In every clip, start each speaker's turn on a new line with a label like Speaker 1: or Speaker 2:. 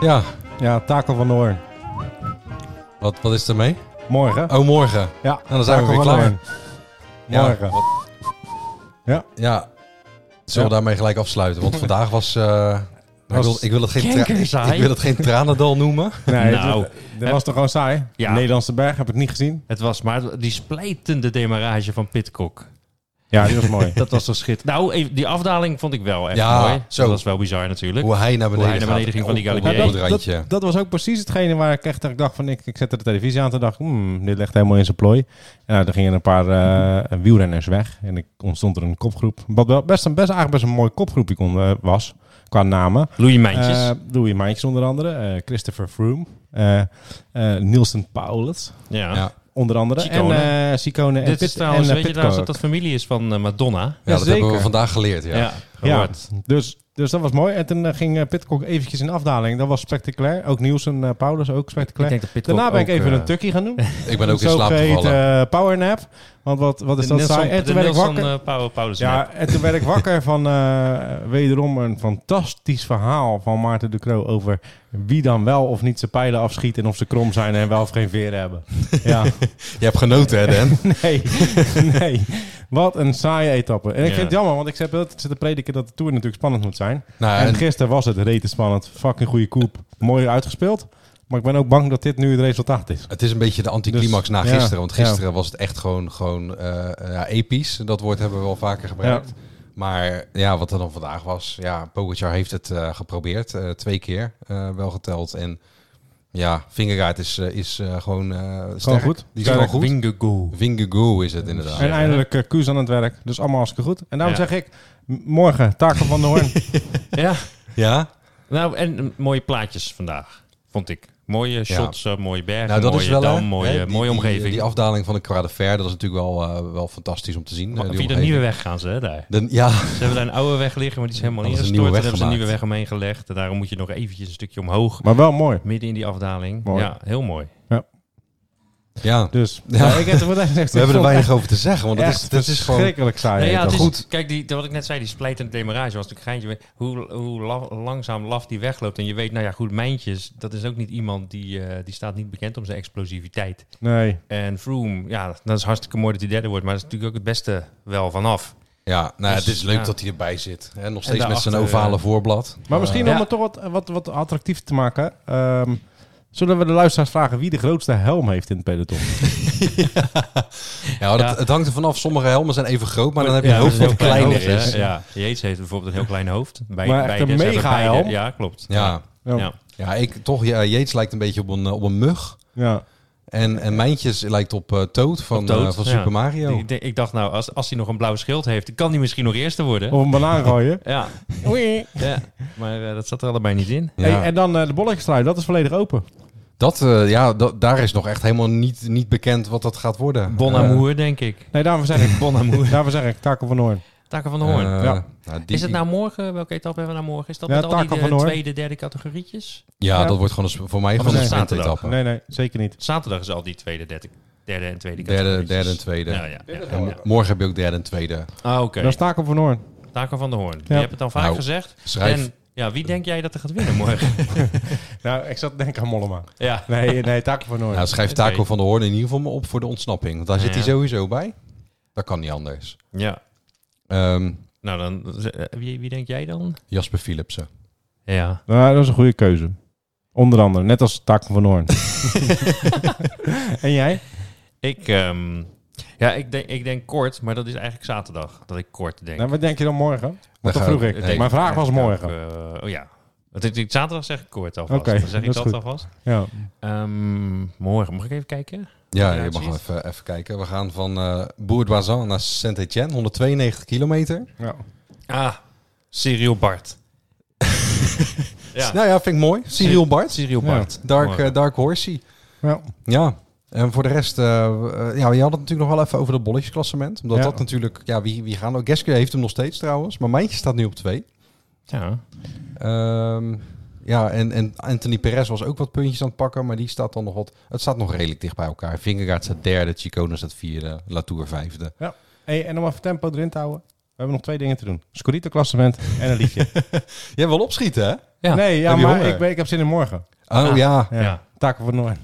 Speaker 1: Ja,
Speaker 2: Ja, Taco van Noorn.
Speaker 1: wat, wat is ermee?
Speaker 2: Morgen.
Speaker 1: Oh, morgen.
Speaker 2: Ja,
Speaker 1: dan zijn we
Speaker 2: Taco
Speaker 1: weer
Speaker 2: van
Speaker 1: klaar.
Speaker 2: Noorn.
Speaker 1: Ja,
Speaker 2: Morgen.
Speaker 1: wat-
Speaker 2: Ja.
Speaker 1: Ja. Zullen we
Speaker 2: Ja.
Speaker 1: daarmee gelijk afsluiten? Want vandaag was... eh, ik, wil, ik, wil het geen tra-
Speaker 3: kankerzaai.
Speaker 1: ik wil het geen tranendal noemen.
Speaker 2: Nee,
Speaker 3: Nou.
Speaker 2: dat, dat was toch gewoon saai?
Speaker 3: Ja.
Speaker 2: Nederlandse Berg, heb ik niet gezien.
Speaker 3: Het was maar die splijtende demarrage van Pitcock.
Speaker 2: Ja, die was mooi.
Speaker 3: Dat was toch schitterend. Nou, even- die afdaling vond ik wel echt
Speaker 1: Ja,
Speaker 3: mooi.
Speaker 1: zo.
Speaker 3: Dat was wel bizar natuurlijk.
Speaker 1: Hoe hij naar beneden,
Speaker 3: hij naar beneden ging van die
Speaker 1: op- op-
Speaker 3: Galibier.
Speaker 1: Op het
Speaker 2: dat,
Speaker 1: randje.
Speaker 2: dat, dat was ook precies hetgene waar ik echt ik dacht van, ik, ik zette de televisie aan en dacht, hmm, dit ligt helemaal in zijn plooi. Ja, er gingen een paar eh, wielrenners weg en ik ontstond er een kopgroep. Wat wel best, een, best eigenlijk best een mooi kopgroepje kon, eh, was, qua namen.
Speaker 3: Louis Mijntjes.
Speaker 2: Eh, Louis Mijntjes onder andere, eh, Christopher Froome, eh eh, Nielsen Paulus
Speaker 3: ja.
Speaker 1: ja.
Speaker 2: onder andere.
Speaker 3: Ciccone.
Speaker 2: En eh Ciccone en
Speaker 3: Dit
Speaker 2: Pit-
Speaker 3: is trouwens,
Speaker 2: en, eh,
Speaker 3: weet je trouwens dat
Speaker 2: Pidcock.
Speaker 3: dat familie is van eh, Madonna?
Speaker 1: Ja, dat
Speaker 2: Jazeker.
Speaker 1: hebben we vandaag geleerd. Ja.
Speaker 3: Ja, gehoord.
Speaker 2: Dus, dus dat was mooi. En toen eh, ging eh, Pitcock eventjes in afdaling. Dat was spectaculair. Ook Nielsen en Paulus ook
Speaker 3: Ik
Speaker 2: spectaculair.
Speaker 3: denk dat Pitcock
Speaker 2: Daarna ben ik
Speaker 3: ook,
Speaker 2: even
Speaker 3: eh,
Speaker 2: een tukkie gaan doen.
Speaker 1: Ik ben ook in
Speaker 2: Zo
Speaker 1: slaap
Speaker 2: geheet,
Speaker 1: gevallen.
Speaker 2: eh, powernap. Want wat, wat is
Speaker 3: de
Speaker 2: dat
Speaker 3: Nelson,
Speaker 2: saai? En
Speaker 3: de
Speaker 2: toen werd ik
Speaker 3: Nelson
Speaker 2: wakker.
Speaker 3: eh, Paul- Paulus.
Speaker 2: Ja, en toen werd ik wakker van eh, wederom een fantastisch verhaal van Maarten de Croo over wie dan wel of niet zijn pijlen afschiet en of ze krom zijn en wel of geen veren hebben. Ja,
Speaker 1: Je hebt genoten, hè, Dan?
Speaker 2: Nee, nee. Wat een saaie etappe. En ik
Speaker 3: Ja.
Speaker 2: vind het jammer, want ik heb altijd zitten prediken dat de Tour natuurlijk spannend moet zijn.
Speaker 1: nou,
Speaker 2: en,
Speaker 1: en-
Speaker 2: gisteren was het rete spannend. Fucking goede koep. Mooi uitgespeeld. Maar ik ben ook bang dat dit nu het resultaat is.
Speaker 1: het is een beetje de anticlimax
Speaker 2: Dus,
Speaker 1: na
Speaker 2: ja,
Speaker 1: gisteren. Want
Speaker 2: ja.
Speaker 1: gisteren was het echt gewoon, gewoon eh, eh, ja, episch. Dat woord hebben we wel vaker gebruikt. Maar ja, wat er dan vandaag was. Ja, Pogacar heeft het eh, geprobeerd. eh, twee keer eh, wel geteld. En ja, Vingegaard is, eh, is eh, gewoon eh,
Speaker 2: Gewoon
Speaker 1: sterk.
Speaker 2: goed.
Speaker 1: Die is gewoon goed.
Speaker 3: Wingego.
Speaker 1: Vingegaard is het inderdaad.
Speaker 2: En eindelijk eh, Kuus aan het werk. Dus allemaal hartstikke goed. En daarom
Speaker 3: Ja.
Speaker 2: zeg ik, m- morgen, Taco van de Hoorn.
Speaker 3: Ja,
Speaker 1: Ja?
Speaker 3: nou en eh, mooie plaatjes vandaag, vond ik. Mooie shots, eh, mooie bergen,
Speaker 1: Nou, dat
Speaker 3: mooie
Speaker 1: is wel
Speaker 3: dam,
Speaker 1: hè,
Speaker 3: mooie,
Speaker 1: hè, die-
Speaker 3: mooie
Speaker 1: die-
Speaker 3: omgeving.
Speaker 1: Die, afdaling van de Croix de Fer, dat is natuurlijk wel, eh, wel fantastisch om te zien.
Speaker 3: Maar
Speaker 1: eh, die
Speaker 3: via de
Speaker 1: omgeving.
Speaker 3: nieuwe weg gaan ze, hè, daar.
Speaker 1: De- ja,
Speaker 3: Ze hebben daar een oude weg liggen, maar die is helemaal
Speaker 1: Dat is een
Speaker 3: ingestort.
Speaker 1: nieuwe
Speaker 3: Daar
Speaker 1: weg
Speaker 3: hebben ze een nieuwe
Speaker 1: gemaakt.
Speaker 3: weg omheen gelegd. En daarom moet je nog eventjes een stukje omhoog,
Speaker 2: maar wel mooi.
Speaker 3: midden in die afdaling.
Speaker 2: Mooi.
Speaker 3: Ja, heel mooi.
Speaker 1: ja.
Speaker 2: Dus
Speaker 1: Ja.
Speaker 2: ja, ik heb er wat gezegd.
Speaker 1: We hebben er weinig over te zeggen, want het is, dat is gewoon...
Speaker 2: verschrikkelijk saai.
Speaker 3: Nee, ja, het
Speaker 2: etappe.
Speaker 3: is,
Speaker 2: goed.
Speaker 3: goed. Kijk, die, wat ik net zei, die splijtende demarage was natuurlijk geintje. Hoe, hoe la- langzaam laf die wegloopt. En je weet, nou ja, goed, Mijntjes, dat is ook niet iemand die, eh, die staat niet bekend om zijn explosiviteit.
Speaker 2: Nee.
Speaker 3: En Froome, ja, dat is hartstikke mooi dat hij derde wordt. Maar dat is natuurlijk ook het beste wel vanaf.
Speaker 1: Ja, nou, ja,
Speaker 3: Dus,
Speaker 1: het is leuk
Speaker 3: ja.
Speaker 1: dat hij erbij zit. Hè? Nog steeds met
Speaker 3: daarachter,
Speaker 1: zijn ovale
Speaker 3: eh,
Speaker 1: voorblad.
Speaker 2: Maar misschien
Speaker 3: Ja.
Speaker 2: om het toch wat, eh, wat, wat attractief te maken. ehm, zullen we de luisteraars vragen wie de grootste helm heeft in het peloton?
Speaker 1: Ja, dat,
Speaker 3: Ja.
Speaker 1: het hangt er vanaf. Sommige helmen zijn even groot, maar dan heb je
Speaker 3: Ja,
Speaker 1: een
Speaker 3: dat
Speaker 1: hoofd
Speaker 3: is een
Speaker 1: wat
Speaker 3: heel klein
Speaker 1: kleiner
Speaker 3: hoofd, hè.
Speaker 1: is. Ja.
Speaker 3: Ja, Jeets heeft bijvoorbeeld een heel klein hoofd. Bij,
Speaker 2: Maar echt
Speaker 3: bij
Speaker 2: een
Speaker 3: deze hebben
Speaker 2: mega
Speaker 3: beide-
Speaker 2: helm.
Speaker 3: Ja, klopt.
Speaker 1: Ja.
Speaker 2: Ja.
Speaker 3: ja.
Speaker 1: ik toch. Ja, Jeets lijkt een beetje op een, eh, op een mug.
Speaker 2: Ja.
Speaker 1: En, en Mijntjes lijkt op eh Toad van,
Speaker 3: Op Toad,
Speaker 1: eh, van
Speaker 3: ja.
Speaker 1: Super Mario.
Speaker 3: Ik, denk- ik dacht nou, als, als hij nog een blauwe schild heeft, kan hij misschien nog eerste worden.
Speaker 1: Oh.
Speaker 2: Of een banaan gooien.
Speaker 3: Ja,
Speaker 2: Oei.
Speaker 3: ja, maar eh, dat zat er allebei niet in.
Speaker 1: Ja.
Speaker 2: Hey, en dan eh, de bolletjestrui, dat is volledig open.
Speaker 1: dat, eh, ja, dat, daar is nog echt helemaal niet, niet bekend wat dat gaat worden.
Speaker 3: Bon
Speaker 1: Eh,
Speaker 3: amour, denk ik.
Speaker 2: Nee, daarvoor zeg ik,
Speaker 3: Bon amour.
Speaker 2: daarvoor zeg ik Taco van Hoorn.
Speaker 3: Taken van de Hoorn.
Speaker 1: eh,
Speaker 2: Ja.
Speaker 1: nou, die-
Speaker 3: is het nou morgen? Welke etappe hebben we nou morgen? Is dat
Speaker 2: Ja,
Speaker 3: met al die
Speaker 2: Taco
Speaker 3: eh,
Speaker 2: van de Hoorn.
Speaker 3: tweede, derde categorietjes?
Speaker 1: ja,
Speaker 2: Ja.
Speaker 1: dat wordt gewoon een, voor mij
Speaker 3: Of
Speaker 1: gewoon
Speaker 3: is
Speaker 1: een
Speaker 3: het zaterdag?
Speaker 1: sprintetappe.
Speaker 2: Nee, nee, zeker niet.
Speaker 3: Zaterdag is al die tweede, derde, derde en tweede
Speaker 1: Derde,
Speaker 3: categorietjes. Nou
Speaker 1: derde en tweede.
Speaker 3: Ja, ja, ja,
Speaker 1: En
Speaker 3: ja.
Speaker 1: mo- morgen heb je ook derde en tweede.
Speaker 3: Ah, oké.
Speaker 2: Dat is Taco van Hoorn.
Speaker 3: Taco van de Hoorn. Je
Speaker 2: Ja.
Speaker 3: hebt het al vaak
Speaker 1: Nou,
Speaker 3: gezegd.
Speaker 1: Schrijf.
Speaker 3: En ja, wie denk jij dat er gaat winnen morgen?
Speaker 2: Nou, ik zat te denken aan Mollema.
Speaker 3: ja.
Speaker 2: Nee, nee, Taco van Hoorn.
Speaker 1: Nou, schrijf
Speaker 3: Oké.
Speaker 1: Taco van de Hoorn in ieder geval maar op voor de ontsnapping. Want daar zit
Speaker 3: Ja.
Speaker 1: hij sowieso bij. Dat kan niet anders.
Speaker 3: ja.
Speaker 1: Ehm,
Speaker 3: Nou, dan, eh, wie, wie denk jij dan?
Speaker 1: Jasper Philipsen.
Speaker 3: Ja.
Speaker 2: Nou, dat is een goede keuze. Onder andere, net als Taco van Hoorn. en jij?
Speaker 3: Ik, ehm, ja, ik, denk, ik denk kort, maar dat is eigenlijk zaterdag dat ik kort denk.
Speaker 2: Nou, wat denk je dan morgen?
Speaker 1: Daar
Speaker 2: dat
Speaker 1: gaan
Speaker 2: vroeg
Speaker 1: we-
Speaker 2: ik.
Speaker 3: Ik
Speaker 1: nee.
Speaker 3: denk
Speaker 2: Mijn vraag was
Speaker 3: eigenlijk
Speaker 2: morgen.
Speaker 3: ook, eh, oh ja. Want ik, ik- zaterdag zeg ik kort alvast.
Speaker 2: Oké,
Speaker 3: dan zeg
Speaker 2: dat
Speaker 3: ik
Speaker 2: is
Speaker 3: dat
Speaker 2: goed.
Speaker 3: alvast.
Speaker 2: Ja.
Speaker 3: Ehm, morgen, mag ik even kijken?
Speaker 1: Ja, je mag
Speaker 3: combinaties.
Speaker 1: wel even, even kijken. We gaan van eh Bourg-Bazan naar Saint-Etienne, 192 kilometer.
Speaker 2: Ja.
Speaker 3: Ah, Cyril Bart. ja,
Speaker 1: Nou ja, vind ik mooi. Cyril Bart.
Speaker 3: Cyril Bart.
Speaker 1: Dark,
Speaker 3: Mooi.
Speaker 1: eh, Dark Horsey.
Speaker 2: Ja.
Speaker 1: Ja, en voor de rest, eh, eh, ja, je had het natuurlijk nog wel even over dat bolletjesklassement. Omdat
Speaker 2: Ja.
Speaker 1: dat natuurlijk, ja, wie, wie gaan ook. Gasquet heeft hem nog steeds trouwens, maar Mijntje staat nu op twee.
Speaker 3: Ja.
Speaker 1: Ehm, ja, en, en Anthony Perez was ook wat puntjes aan het pakken, maar die staat dan nog wat... Het staat nog redelijk dicht bij elkaar. Vingegaard staat derde, Chicone staat vierde, Latour vijfde.
Speaker 2: Hey, en om even tempo erin te houden. We hebben nog twee dingen te doen. Scorito klassement en een liedje.
Speaker 1: Jij wil opschieten, hè?
Speaker 3: Ja,
Speaker 2: nee, ja,
Speaker 1: heb je
Speaker 2: maar
Speaker 1: honger?
Speaker 2: ik, ben- ik heb zin in morgen.
Speaker 1: Oh
Speaker 3: Ah.
Speaker 1: ja.
Speaker 2: Ja.
Speaker 3: Ja.
Speaker 2: Taken voor Noord.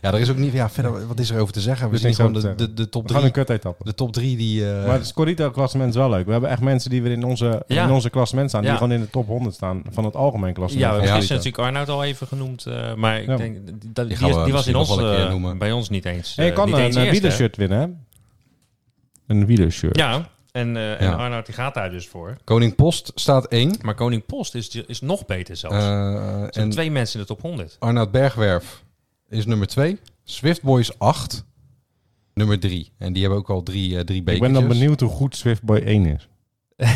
Speaker 1: Ja, er is ook niet... Ja, verder, wat is er over te zeggen? We
Speaker 2: Er is
Speaker 1: zien
Speaker 2: niks
Speaker 1: gewoon de,
Speaker 2: over te
Speaker 1: de, de top
Speaker 2: We gaan een
Speaker 1: drie.
Speaker 2: kut etappe.
Speaker 1: De top drie die... eh,
Speaker 2: Maar het Scorito klassement is wel leuk. We hebben echt mensen die weer in onze,
Speaker 3: Ja.
Speaker 2: in onze klassement staan.
Speaker 3: Ja.
Speaker 2: Die gewoon in de top 100 staan van het algemeen klassement.
Speaker 3: Ja, we hebben
Speaker 1: Ja.
Speaker 3: gisteren natuurlijk Arnoud al even genoemd. eh, maar ik
Speaker 2: Ja.
Speaker 3: denk, dat- die,
Speaker 1: gaan
Speaker 3: is-
Speaker 1: we
Speaker 3: die was
Speaker 1: misschien
Speaker 3: in
Speaker 1: nog
Speaker 3: ons,
Speaker 1: wel een keer
Speaker 3: eh,
Speaker 1: noemen.
Speaker 3: bij ons niet eens.
Speaker 2: En je
Speaker 3: eh,
Speaker 2: kan
Speaker 3: niet eens
Speaker 2: een, een
Speaker 3: eerst, hè?
Speaker 2: wielershirt winnen, hè? Een wielershirt.
Speaker 3: Ja, en, eh en
Speaker 1: Ja.
Speaker 3: Arnoud die gaat daar dus voor.
Speaker 1: Koning Post staat één.
Speaker 3: Maar Koning Post is, is nog beter zelfs. er
Speaker 1: Eh,
Speaker 3: zijn
Speaker 1: en
Speaker 3: twee mensen in de top 100.
Speaker 1: Arnoud Bergwerf is nummer 2. Swift Boys 8. Nummer 3. En die hebben ook al drie, eh drie
Speaker 2: ik
Speaker 1: bekertjes.
Speaker 2: ben dan benieuwd hoe goed Swiftboy 1 is.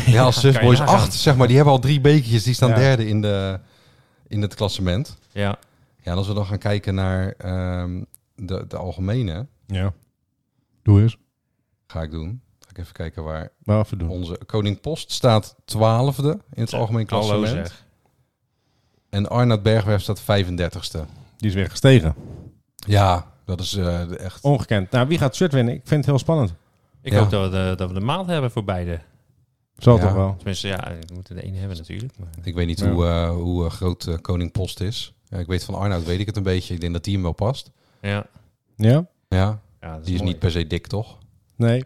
Speaker 1: Ja, als Swift
Speaker 3: Kan je
Speaker 1: Boys
Speaker 3: nagaan.
Speaker 1: 8, zeg maar. Die hebben al drie bekertjes. Die staan
Speaker 2: Ja.
Speaker 1: derde in, de, in het klassement.
Speaker 3: Ja.
Speaker 1: Ja, en als we dan gaan kijken naar ehm, de, de algemene,
Speaker 2: Ja. Doe eens.
Speaker 1: ga ik doen. Ga ik even kijken waar
Speaker 2: Maar even doen.
Speaker 1: onze Koning Post staat 12e in het algemeen
Speaker 3: Hallo
Speaker 1: klassement.
Speaker 3: zeg.
Speaker 1: En Arnoud Bergwerf staat 35e.
Speaker 2: Die is weer gestegen.
Speaker 1: Ja, dat is eh, echt...
Speaker 2: Ongekend. Nou, wie gaat het shirt winnen? Ik vind het heel spannend.
Speaker 3: Ik
Speaker 1: Ja.
Speaker 3: hoop dat we, de, dat we de maand hebben voor beide.
Speaker 2: Zal
Speaker 1: Ja.
Speaker 2: toch wel.
Speaker 3: Tenminste, ja, we moeten de ene hebben natuurlijk. Maar...
Speaker 1: Ik weet niet
Speaker 2: Ja.
Speaker 1: hoe, eh, hoe eh, groot eh, Koning Post is. Ja, ik weet van Arnoud, weet ik het een beetje. Ik denk dat die hem wel past.
Speaker 3: Ja.
Speaker 2: Ja?
Speaker 1: Ja,
Speaker 3: ja, dat
Speaker 1: die is
Speaker 3: mooi.
Speaker 1: niet per se dik, toch?
Speaker 2: Nee.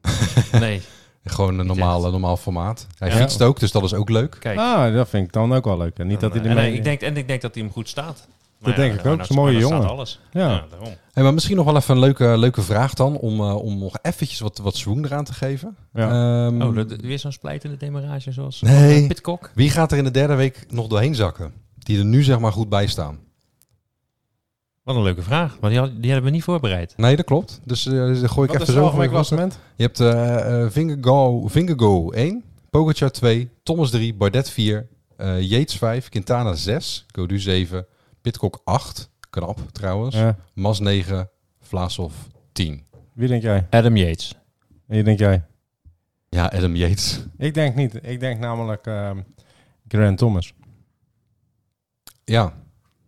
Speaker 3: Nee,
Speaker 1: Gewoon een
Speaker 3: Niet
Speaker 1: normale,
Speaker 3: echt.
Speaker 1: normaal formaat. Hij
Speaker 3: Ja.
Speaker 1: fietst ook, dus dat is ook leuk.
Speaker 3: kijk.
Speaker 2: Ah, dat vind ik dan ook wel leuk. En niet dat hij
Speaker 3: en,
Speaker 2: er
Speaker 3: eh,
Speaker 2: mee...
Speaker 3: ik denk, en ik denk dat hij hem goed staat. Maar
Speaker 2: denk ik ook.
Speaker 3: Arnoud-
Speaker 2: Het is een mooie
Speaker 3: Arnoud
Speaker 2: jongen.
Speaker 3: staat alles.
Speaker 2: Ja.
Speaker 3: Ja, daarom.
Speaker 1: Hey, maar misschien nog wel even een leuke, leuke vraag dan, om, eh, om nog eventjes wat, wat zwoen eraan te geven.
Speaker 2: Ja.
Speaker 1: Ehm,
Speaker 3: Oh, dat, weer zo'n splijtende demarage zoals
Speaker 1: Nee.
Speaker 3: eh, Pitcock.
Speaker 1: Wie gaat er in de derde week nog doorheen zakken? Die er nu zeg maar goed bij staan.
Speaker 3: Wat een leuke vraag, maar die, had- die hadden we niet voorbereid.
Speaker 1: Nee, dat klopt. Dus eh, dan gooi ik
Speaker 2: Wat is
Speaker 1: even
Speaker 2: het
Speaker 1: zo
Speaker 2: algemeen
Speaker 1: voor je op.
Speaker 2: klassement?
Speaker 1: Je hebt eh eh Vingergo, Vingergo 1, Pogacar 2, Thomas 3, Bardet 4, eh Yates 5, Quintana 6, Godu 7, Pitcock 8, knap trouwens,
Speaker 2: Ja.
Speaker 1: Mas 9, Vlaasov 10.
Speaker 2: Wie denk jij?
Speaker 3: Adam Yates.
Speaker 2: Wie denk jij?
Speaker 1: Ja, Adam Yates.
Speaker 2: Ik denk niet. Ik denk namelijk ehm Grant Thomas.
Speaker 1: Ja,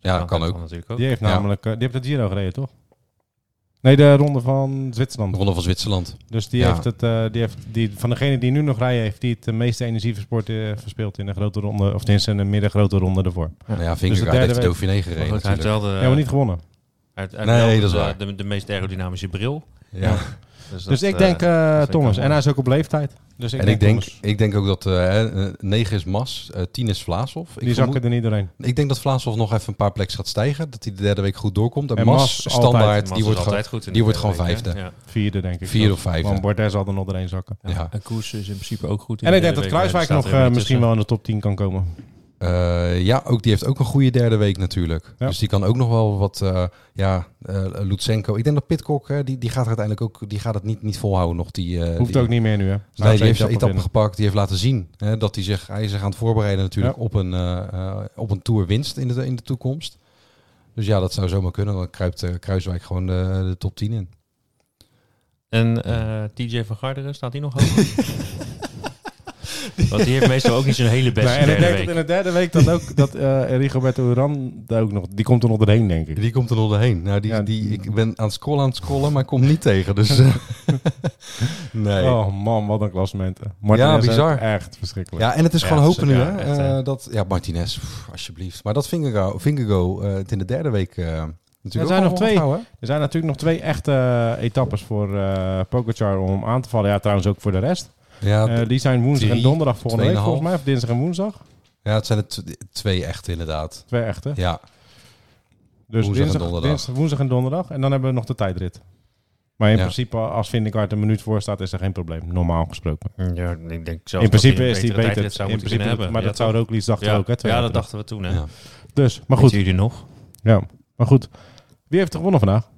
Speaker 1: ja kan ook.
Speaker 3: Nou, natuurlijk ook.
Speaker 2: Die heeft
Speaker 1: Ja.
Speaker 2: namelijk... eh, die heeft de Giro gereden, toch? Nee, de ronde van
Speaker 1: De
Speaker 2: Zwitserland.
Speaker 1: Ronde van Zwitserland.
Speaker 2: Dus die
Speaker 1: Ja.
Speaker 2: heeft het... eh, die heeft, die, van degene die nu nog rijden, heeft die het de meeste energie versport, eh, verspeeld in de grote ronde. Of tenminste in de middengrote ronde ervoor.
Speaker 1: Nou ja, Vingegaard
Speaker 2: derde
Speaker 1: heeft de
Speaker 2: week.
Speaker 1: Dauphiné
Speaker 3: Maar
Speaker 1: gereden
Speaker 3: goed, hij heeft
Speaker 1: natuurlijk.
Speaker 3: wel de,
Speaker 2: Helemaal niet gewonnen.
Speaker 3: hij heeft- hij
Speaker 1: Nee,
Speaker 3: heeft wel
Speaker 1: dat is
Speaker 3: de-
Speaker 1: waar.
Speaker 3: De, de meest aerodynamische bril.
Speaker 1: Ja.
Speaker 3: Dus,
Speaker 2: Dus
Speaker 3: dat,
Speaker 2: ik
Speaker 3: eh,
Speaker 2: denk eh,
Speaker 3: vind ik
Speaker 2: Thomas.
Speaker 3: wel
Speaker 2: En hij is ook op leeftijd. Dus ik
Speaker 1: En ik denk, ik denk ook dat eh 9 is Mas, eh, 10 is Vlaasov. Ik,
Speaker 2: die
Speaker 1: vermoed-
Speaker 2: zakken er niet doorheen.
Speaker 1: ik denk dat Vlaasov nog even een paar plekjes gaat stijgen. Dat hij de derde week goed doorkomt. En,
Speaker 2: En
Speaker 1: Mas,
Speaker 2: Mas altijd.
Speaker 1: standaard,
Speaker 3: Mas
Speaker 1: die
Speaker 3: is
Speaker 1: wordt gewoon
Speaker 3: altijd goed in
Speaker 1: die
Speaker 3: de
Speaker 1: wordt gewoon
Speaker 3: derde week, hè?
Speaker 2: Vierde, denk ik.
Speaker 1: vier of vijfde.
Speaker 2: Want Bardet zal er nog doorheen zakken.
Speaker 3: Ja.
Speaker 1: Ja.
Speaker 3: En Koers is in principe ook goed. in
Speaker 2: En
Speaker 3: de
Speaker 2: ik denk dat
Speaker 3: derde week, maar
Speaker 2: Kruiswijk nog
Speaker 3: die staat er
Speaker 2: eh,
Speaker 3: niet
Speaker 2: misschien
Speaker 3: tussen.
Speaker 2: wel in de top 10 kan komen.
Speaker 1: Eh, ja, ook die heeft ook een goede derde week natuurlijk.
Speaker 2: Ja.
Speaker 1: Dus die kan ook nog wel wat. eh, ja, eh Lutsenko. Ik denk dat Pitcock, hè, die, die gaat er uiteindelijk ook. Die gaat het niet, niet volhouden nog. Die, eh,
Speaker 2: Hoeft
Speaker 1: die,
Speaker 2: ook niet Nou, meer nu, hè?
Speaker 1: Nee, die heeft zijn etappe gepakt. Die heeft laten zien hè, dat hij zich, hij is zich aan het voorbereiden natuurlijk op, een, eh, eh, op een Tour winst in de, in de toekomst. Dus ja, dat zou zomaar kunnen. Dan kruipt eh, Kruiswijk gewoon de, de top 10 in.
Speaker 3: En eh TJ van Garderen, staat die nog hoog? Want die heeft meestal ook niet zo'n hele beste
Speaker 2: Nee, en ik
Speaker 3: derde
Speaker 2: denk
Speaker 3: week.
Speaker 2: dat in de derde week dat ook dat eh Rigoberto Uran daar ook nog die komt er nog doorheen denk ik.
Speaker 1: Die komt er nog doorheen. Nou, die,
Speaker 2: Ja.
Speaker 1: die, ik ben aan het scrollen, aan het scrollen, maar kom niet tegen. Dus eh, nee.
Speaker 2: Oh man, wat een klassement. Martinez
Speaker 1: Ja, bizar.
Speaker 2: ook Echt verschrikkelijk.
Speaker 1: Ja, en het is
Speaker 3: Ja,
Speaker 1: gewoon
Speaker 3: dat is
Speaker 1: hopen nu,
Speaker 3: ook,
Speaker 1: hè?
Speaker 3: ja, echt,
Speaker 1: Eh,
Speaker 3: hè.
Speaker 1: dat, ja, Martinez, pff, alsjeblieft. Maar dat Vingergo, Vingergo eh, het in de derde week eh, natuurlijk
Speaker 2: Er
Speaker 1: ook
Speaker 2: zijn
Speaker 1: wel
Speaker 2: nog twee.
Speaker 1: onthouden, hè?
Speaker 2: Er zijn natuurlijk nog twee echte eh, etappes voor eh Pogacar om aan te vallen. Ja, trouwens ook voor de rest.
Speaker 1: Ja,
Speaker 2: Eh, die zijn woensdag en
Speaker 1: drie,
Speaker 2: donderdag volgende week
Speaker 1: tweeënhalf.
Speaker 2: volgens mij. Of dinsdag en woensdag.
Speaker 1: ja, het zijn er tw- twee echt inderdaad.
Speaker 2: Twee echte.
Speaker 1: Ja,
Speaker 2: Dus
Speaker 1: Woensdag en
Speaker 2: dinsdag,
Speaker 1: donderdag.
Speaker 2: dinsdag, woensdag en donderdag. En dan hebben we nog de tijdrit. Maar in
Speaker 1: Ja.
Speaker 2: principe, als Vindegaard een minuut voor staat, is er geen probleem. Normaal gesproken.
Speaker 3: Ja, ik denk zelfs
Speaker 2: in
Speaker 3: dat
Speaker 2: principe
Speaker 3: hij een
Speaker 2: is die
Speaker 3: betere
Speaker 2: beter.
Speaker 3: tijdrit zou
Speaker 2: in principe,
Speaker 3: moeten kunnen hebben.
Speaker 2: Maar
Speaker 3: Ja,
Speaker 2: dat zou
Speaker 3: toch?
Speaker 2: Roglic dachten
Speaker 3: ja,
Speaker 2: ook, hè? twee
Speaker 3: ja,
Speaker 2: jaar
Speaker 3: dat
Speaker 2: terug.
Speaker 3: dachten we toen. Hè?
Speaker 1: ja.
Speaker 2: Dus, maar goed,
Speaker 3: Weten jullie nog?
Speaker 2: ja. maar goed. Wie heeft er gewonnen vandaag?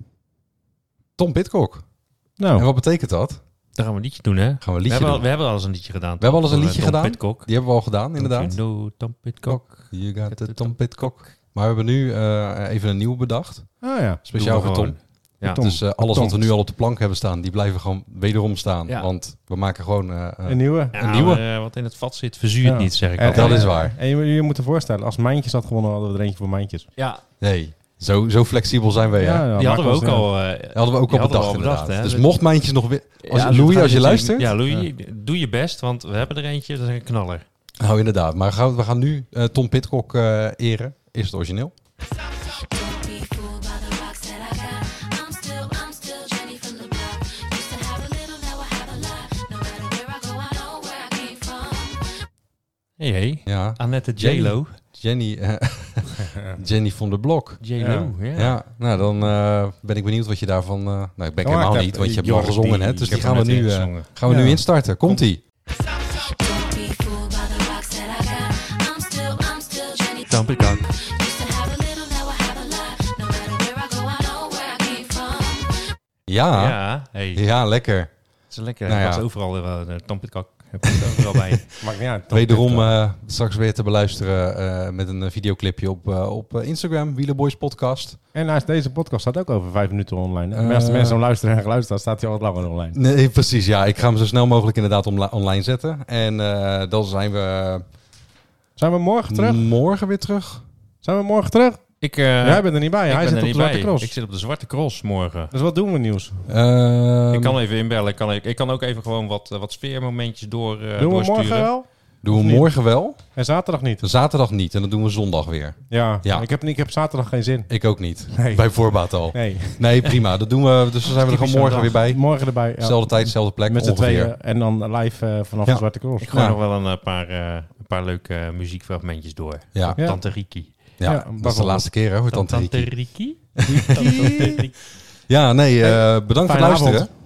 Speaker 1: Tom Pitcock. En
Speaker 2: Nou,
Speaker 1: wat betekent dat?
Speaker 3: Daar gaan we een liedje doen, hè?
Speaker 1: Gaan we een
Speaker 3: we,
Speaker 1: liedje
Speaker 3: hebben al,
Speaker 1: doen.
Speaker 3: we hebben al eens een liedje gedaan.
Speaker 1: We hebben al eens een
Speaker 3: Voor, eh,
Speaker 1: liedje
Speaker 3: Tom
Speaker 1: gedaan.
Speaker 3: Pidcock.
Speaker 1: Die hebben we al gedaan, inderdaad.
Speaker 3: Don't you know Tom Pidcock.
Speaker 1: You got the Tom Pitcock. Maar we hebben nu eh, even een nieuw bedacht.
Speaker 2: ah ja.
Speaker 1: Speciaal
Speaker 3: Doen
Speaker 1: voor
Speaker 3: we
Speaker 1: Tom.
Speaker 3: gewoon. Ja.
Speaker 2: Tom.
Speaker 1: Dus eh, alles
Speaker 2: Tom.
Speaker 1: wat we nu al op de plank hebben staan, die blijven gewoon wederom staan.
Speaker 3: Ja.
Speaker 1: Want we maken gewoon... eh, eh,
Speaker 2: Een nieuwe.
Speaker 3: Ja,
Speaker 1: Een nieuwe.
Speaker 3: maar, eh, wat in het vat zit, verzuurt
Speaker 2: Ja.
Speaker 3: niet, zeg ik
Speaker 2: En-
Speaker 1: dat
Speaker 3: altijd.
Speaker 1: is waar.
Speaker 2: En je, moet- je moet je voorstellen, als Mijntjes had gewonnen, hadden we er eentje voor Mijntjes. nou,
Speaker 3: Ja,
Speaker 1: nee, zo, zo flexibel zijn we, ja.
Speaker 3: die hadden we ook
Speaker 2: maakt ons
Speaker 3: al. eh,
Speaker 1: Dat hadden we ook al
Speaker 3: Die hadden we
Speaker 1: bedacht,
Speaker 3: al bedacht,
Speaker 1: inderdaad.
Speaker 3: hè.
Speaker 1: Dus mocht Mijntjes nog weer... Als,
Speaker 3: ja,
Speaker 1: Louis,
Speaker 3: dat
Speaker 1: als je
Speaker 3: gaat
Speaker 1: luistert...
Speaker 3: Ja, Louis, doe je best, want we hebben er eentje, dat is een knaller.
Speaker 1: Nou, inderdaad. Maar gaan, we gaan nu eh, Tom Pitcock eh, eren. Is het origineel?
Speaker 4: Don't be fooled by the rocks that I got. I'm still, I'm still Jenny from the block. Used to have a little, now I have a lot. No matter where I go, I know where I came from.
Speaker 3: Hey, hey.
Speaker 1: Ja.
Speaker 3: Annette J-Lo.
Speaker 1: Jenny, eh, Jenny van der Blok.
Speaker 3: J-Lo, ja.
Speaker 1: Ja, nou dan eh, ben ik benieuwd wat je daarvan... eh, nou, ik ben
Speaker 2: Ja,
Speaker 1: helemaal
Speaker 2: ik heb-
Speaker 1: niet, want je hebt al
Speaker 2: Jordi,
Speaker 1: gezongen, hè?
Speaker 2: ik
Speaker 1: Dus die
Speaker 2: heb
Speaker 1: gaan we,
Speaker 2: net
Speaker 1: nu, eh,
Speaker 2: ingezongen.
Speaker 1: gaan we nu
Speaker 2: Ja.
Speaker 1: instarten. Komt-ie.
Speaker 4: Don't be fooled by the rocks that I got. I'm still, I'm still Jenny.
Speaker 3: Tom Pidcock.
Speaker 4: Used to have a little, now I have a lot. No matter where I go, I know where I came from.
Speaker 1: Ja. ja.
Speaker 3: Ja, hey.
Speaker 1: lekker.
Speaker 3: Het is lekker.
Speaker 1: Nou
Speaker 3: Nou,
Speaker 1: ja.
Speaker 3: was overal eh, eh, Tom Pidcock. Hij past overal bij.
Speaker 2: Maakt niet uit.
Speaker 1: Wederom eh, straks weer te beluisteren eh, met een eh, videoclipje op, eh, op eh, Instagram. Wielerboys Podcast.
Speaker 2: En naast deze podcast staat ook over vijf minuten online. hè?
Speaker 1: Eh,
Speaker 2: Maar als de mensen hem luisteren en geluisterd hebben, staat hij al wat langer online.
Speaker 1: Nee, precies. Ja, ik ga hem zo snel mogelijk inderdaad onla- online zetten. En eh, dan zijn we
Speaker 2: Zijn we morgen terug?
Speaker 1: morgen weer terug.
Speaker 2: Zijn we morgen terug?
Speaker 3: ik, Mm. eh,
Speaker 2: Jij bent er niet bij.
Speaker 3: ik
Speaker 2: Hij
Speaker 3: ben
Speaker 2: zit
Speaker 3: er
Speaker 2: op de
Speaker 3: niet
Speaker 2: Zwarte
Speaker 3: bij.
Speaker 2: Cross.
Speaker 3: Ik Eh, zit op de Zwarte Cross morgen.
Speaker 2: Dus wat doen we nieuws?
Speaker 1: Ehm,
Speaker 3: ik kan even inbellen. Ik kan, ik, ik kan ook even gewoon wat, eh, wat sfeermomentjes door, eh,
Speaker 2: doen we
Speaker 3: doorsturen.
Speaker 2: morgen wel?
Speaker 1: doen
Speaker 2: of
Speaker 1: we
Speaker 2: niet?
Speaker 1: morgen wel.
Speaker 2: En zaterdag niet.
Speaker 1: Zaterdag niet. En dan doen we zondag weer.
Speaker 2: Ja,
Speaker 1: Ja.
Speaker 2: Ik, heb, niet- ik heb zaterdag geen zin.
Speaker 1: Ik ook niet.
Speaker 2: Nee.
Speaker 1: Bij voorbaat al.
Speaker 2: Nee,
Speaker 1: Nee, prima. Dat doen we. Dus dan zijn we er
Speaker 3: Typisch
Speaker 1: gewoon morgen
Speaker 3: zo'n
Speaker 1: weer bij.
Speaker 2: morgen erbij. ja.
Speaker 1: Zelfde tijd, zelfde plek.
Speaker 2: Met z'n
Speaker 1: ongeveer.
Speaker 2: tweeën en dan live eh, vanaf
Speaker 1: Ja.
Speaker 2: de Zwarte Cross.
Speaker 3: Ik gooi
Speaker 1: Ja.
Speaker 3: nog wel een eh, paar, eh, een paar leuke eh, muziekfragmentjes door.
Speaker 1: Ja, ja.
Speaker 2: Ja.
Speaker 3: Tante Riki.
Speaker 1: dat is de
Speaker 2: bijvoorbeeld.
Speaker 1: laatste keer hè, voor Tante Rieke.
Speaker 3: Riki? Tante Riki?
Speaker 1: Ja, nee, eh, bedankt voor
Speaker 2: Fijne
Speaker 1: het luisteren.
Speaker 2: avond.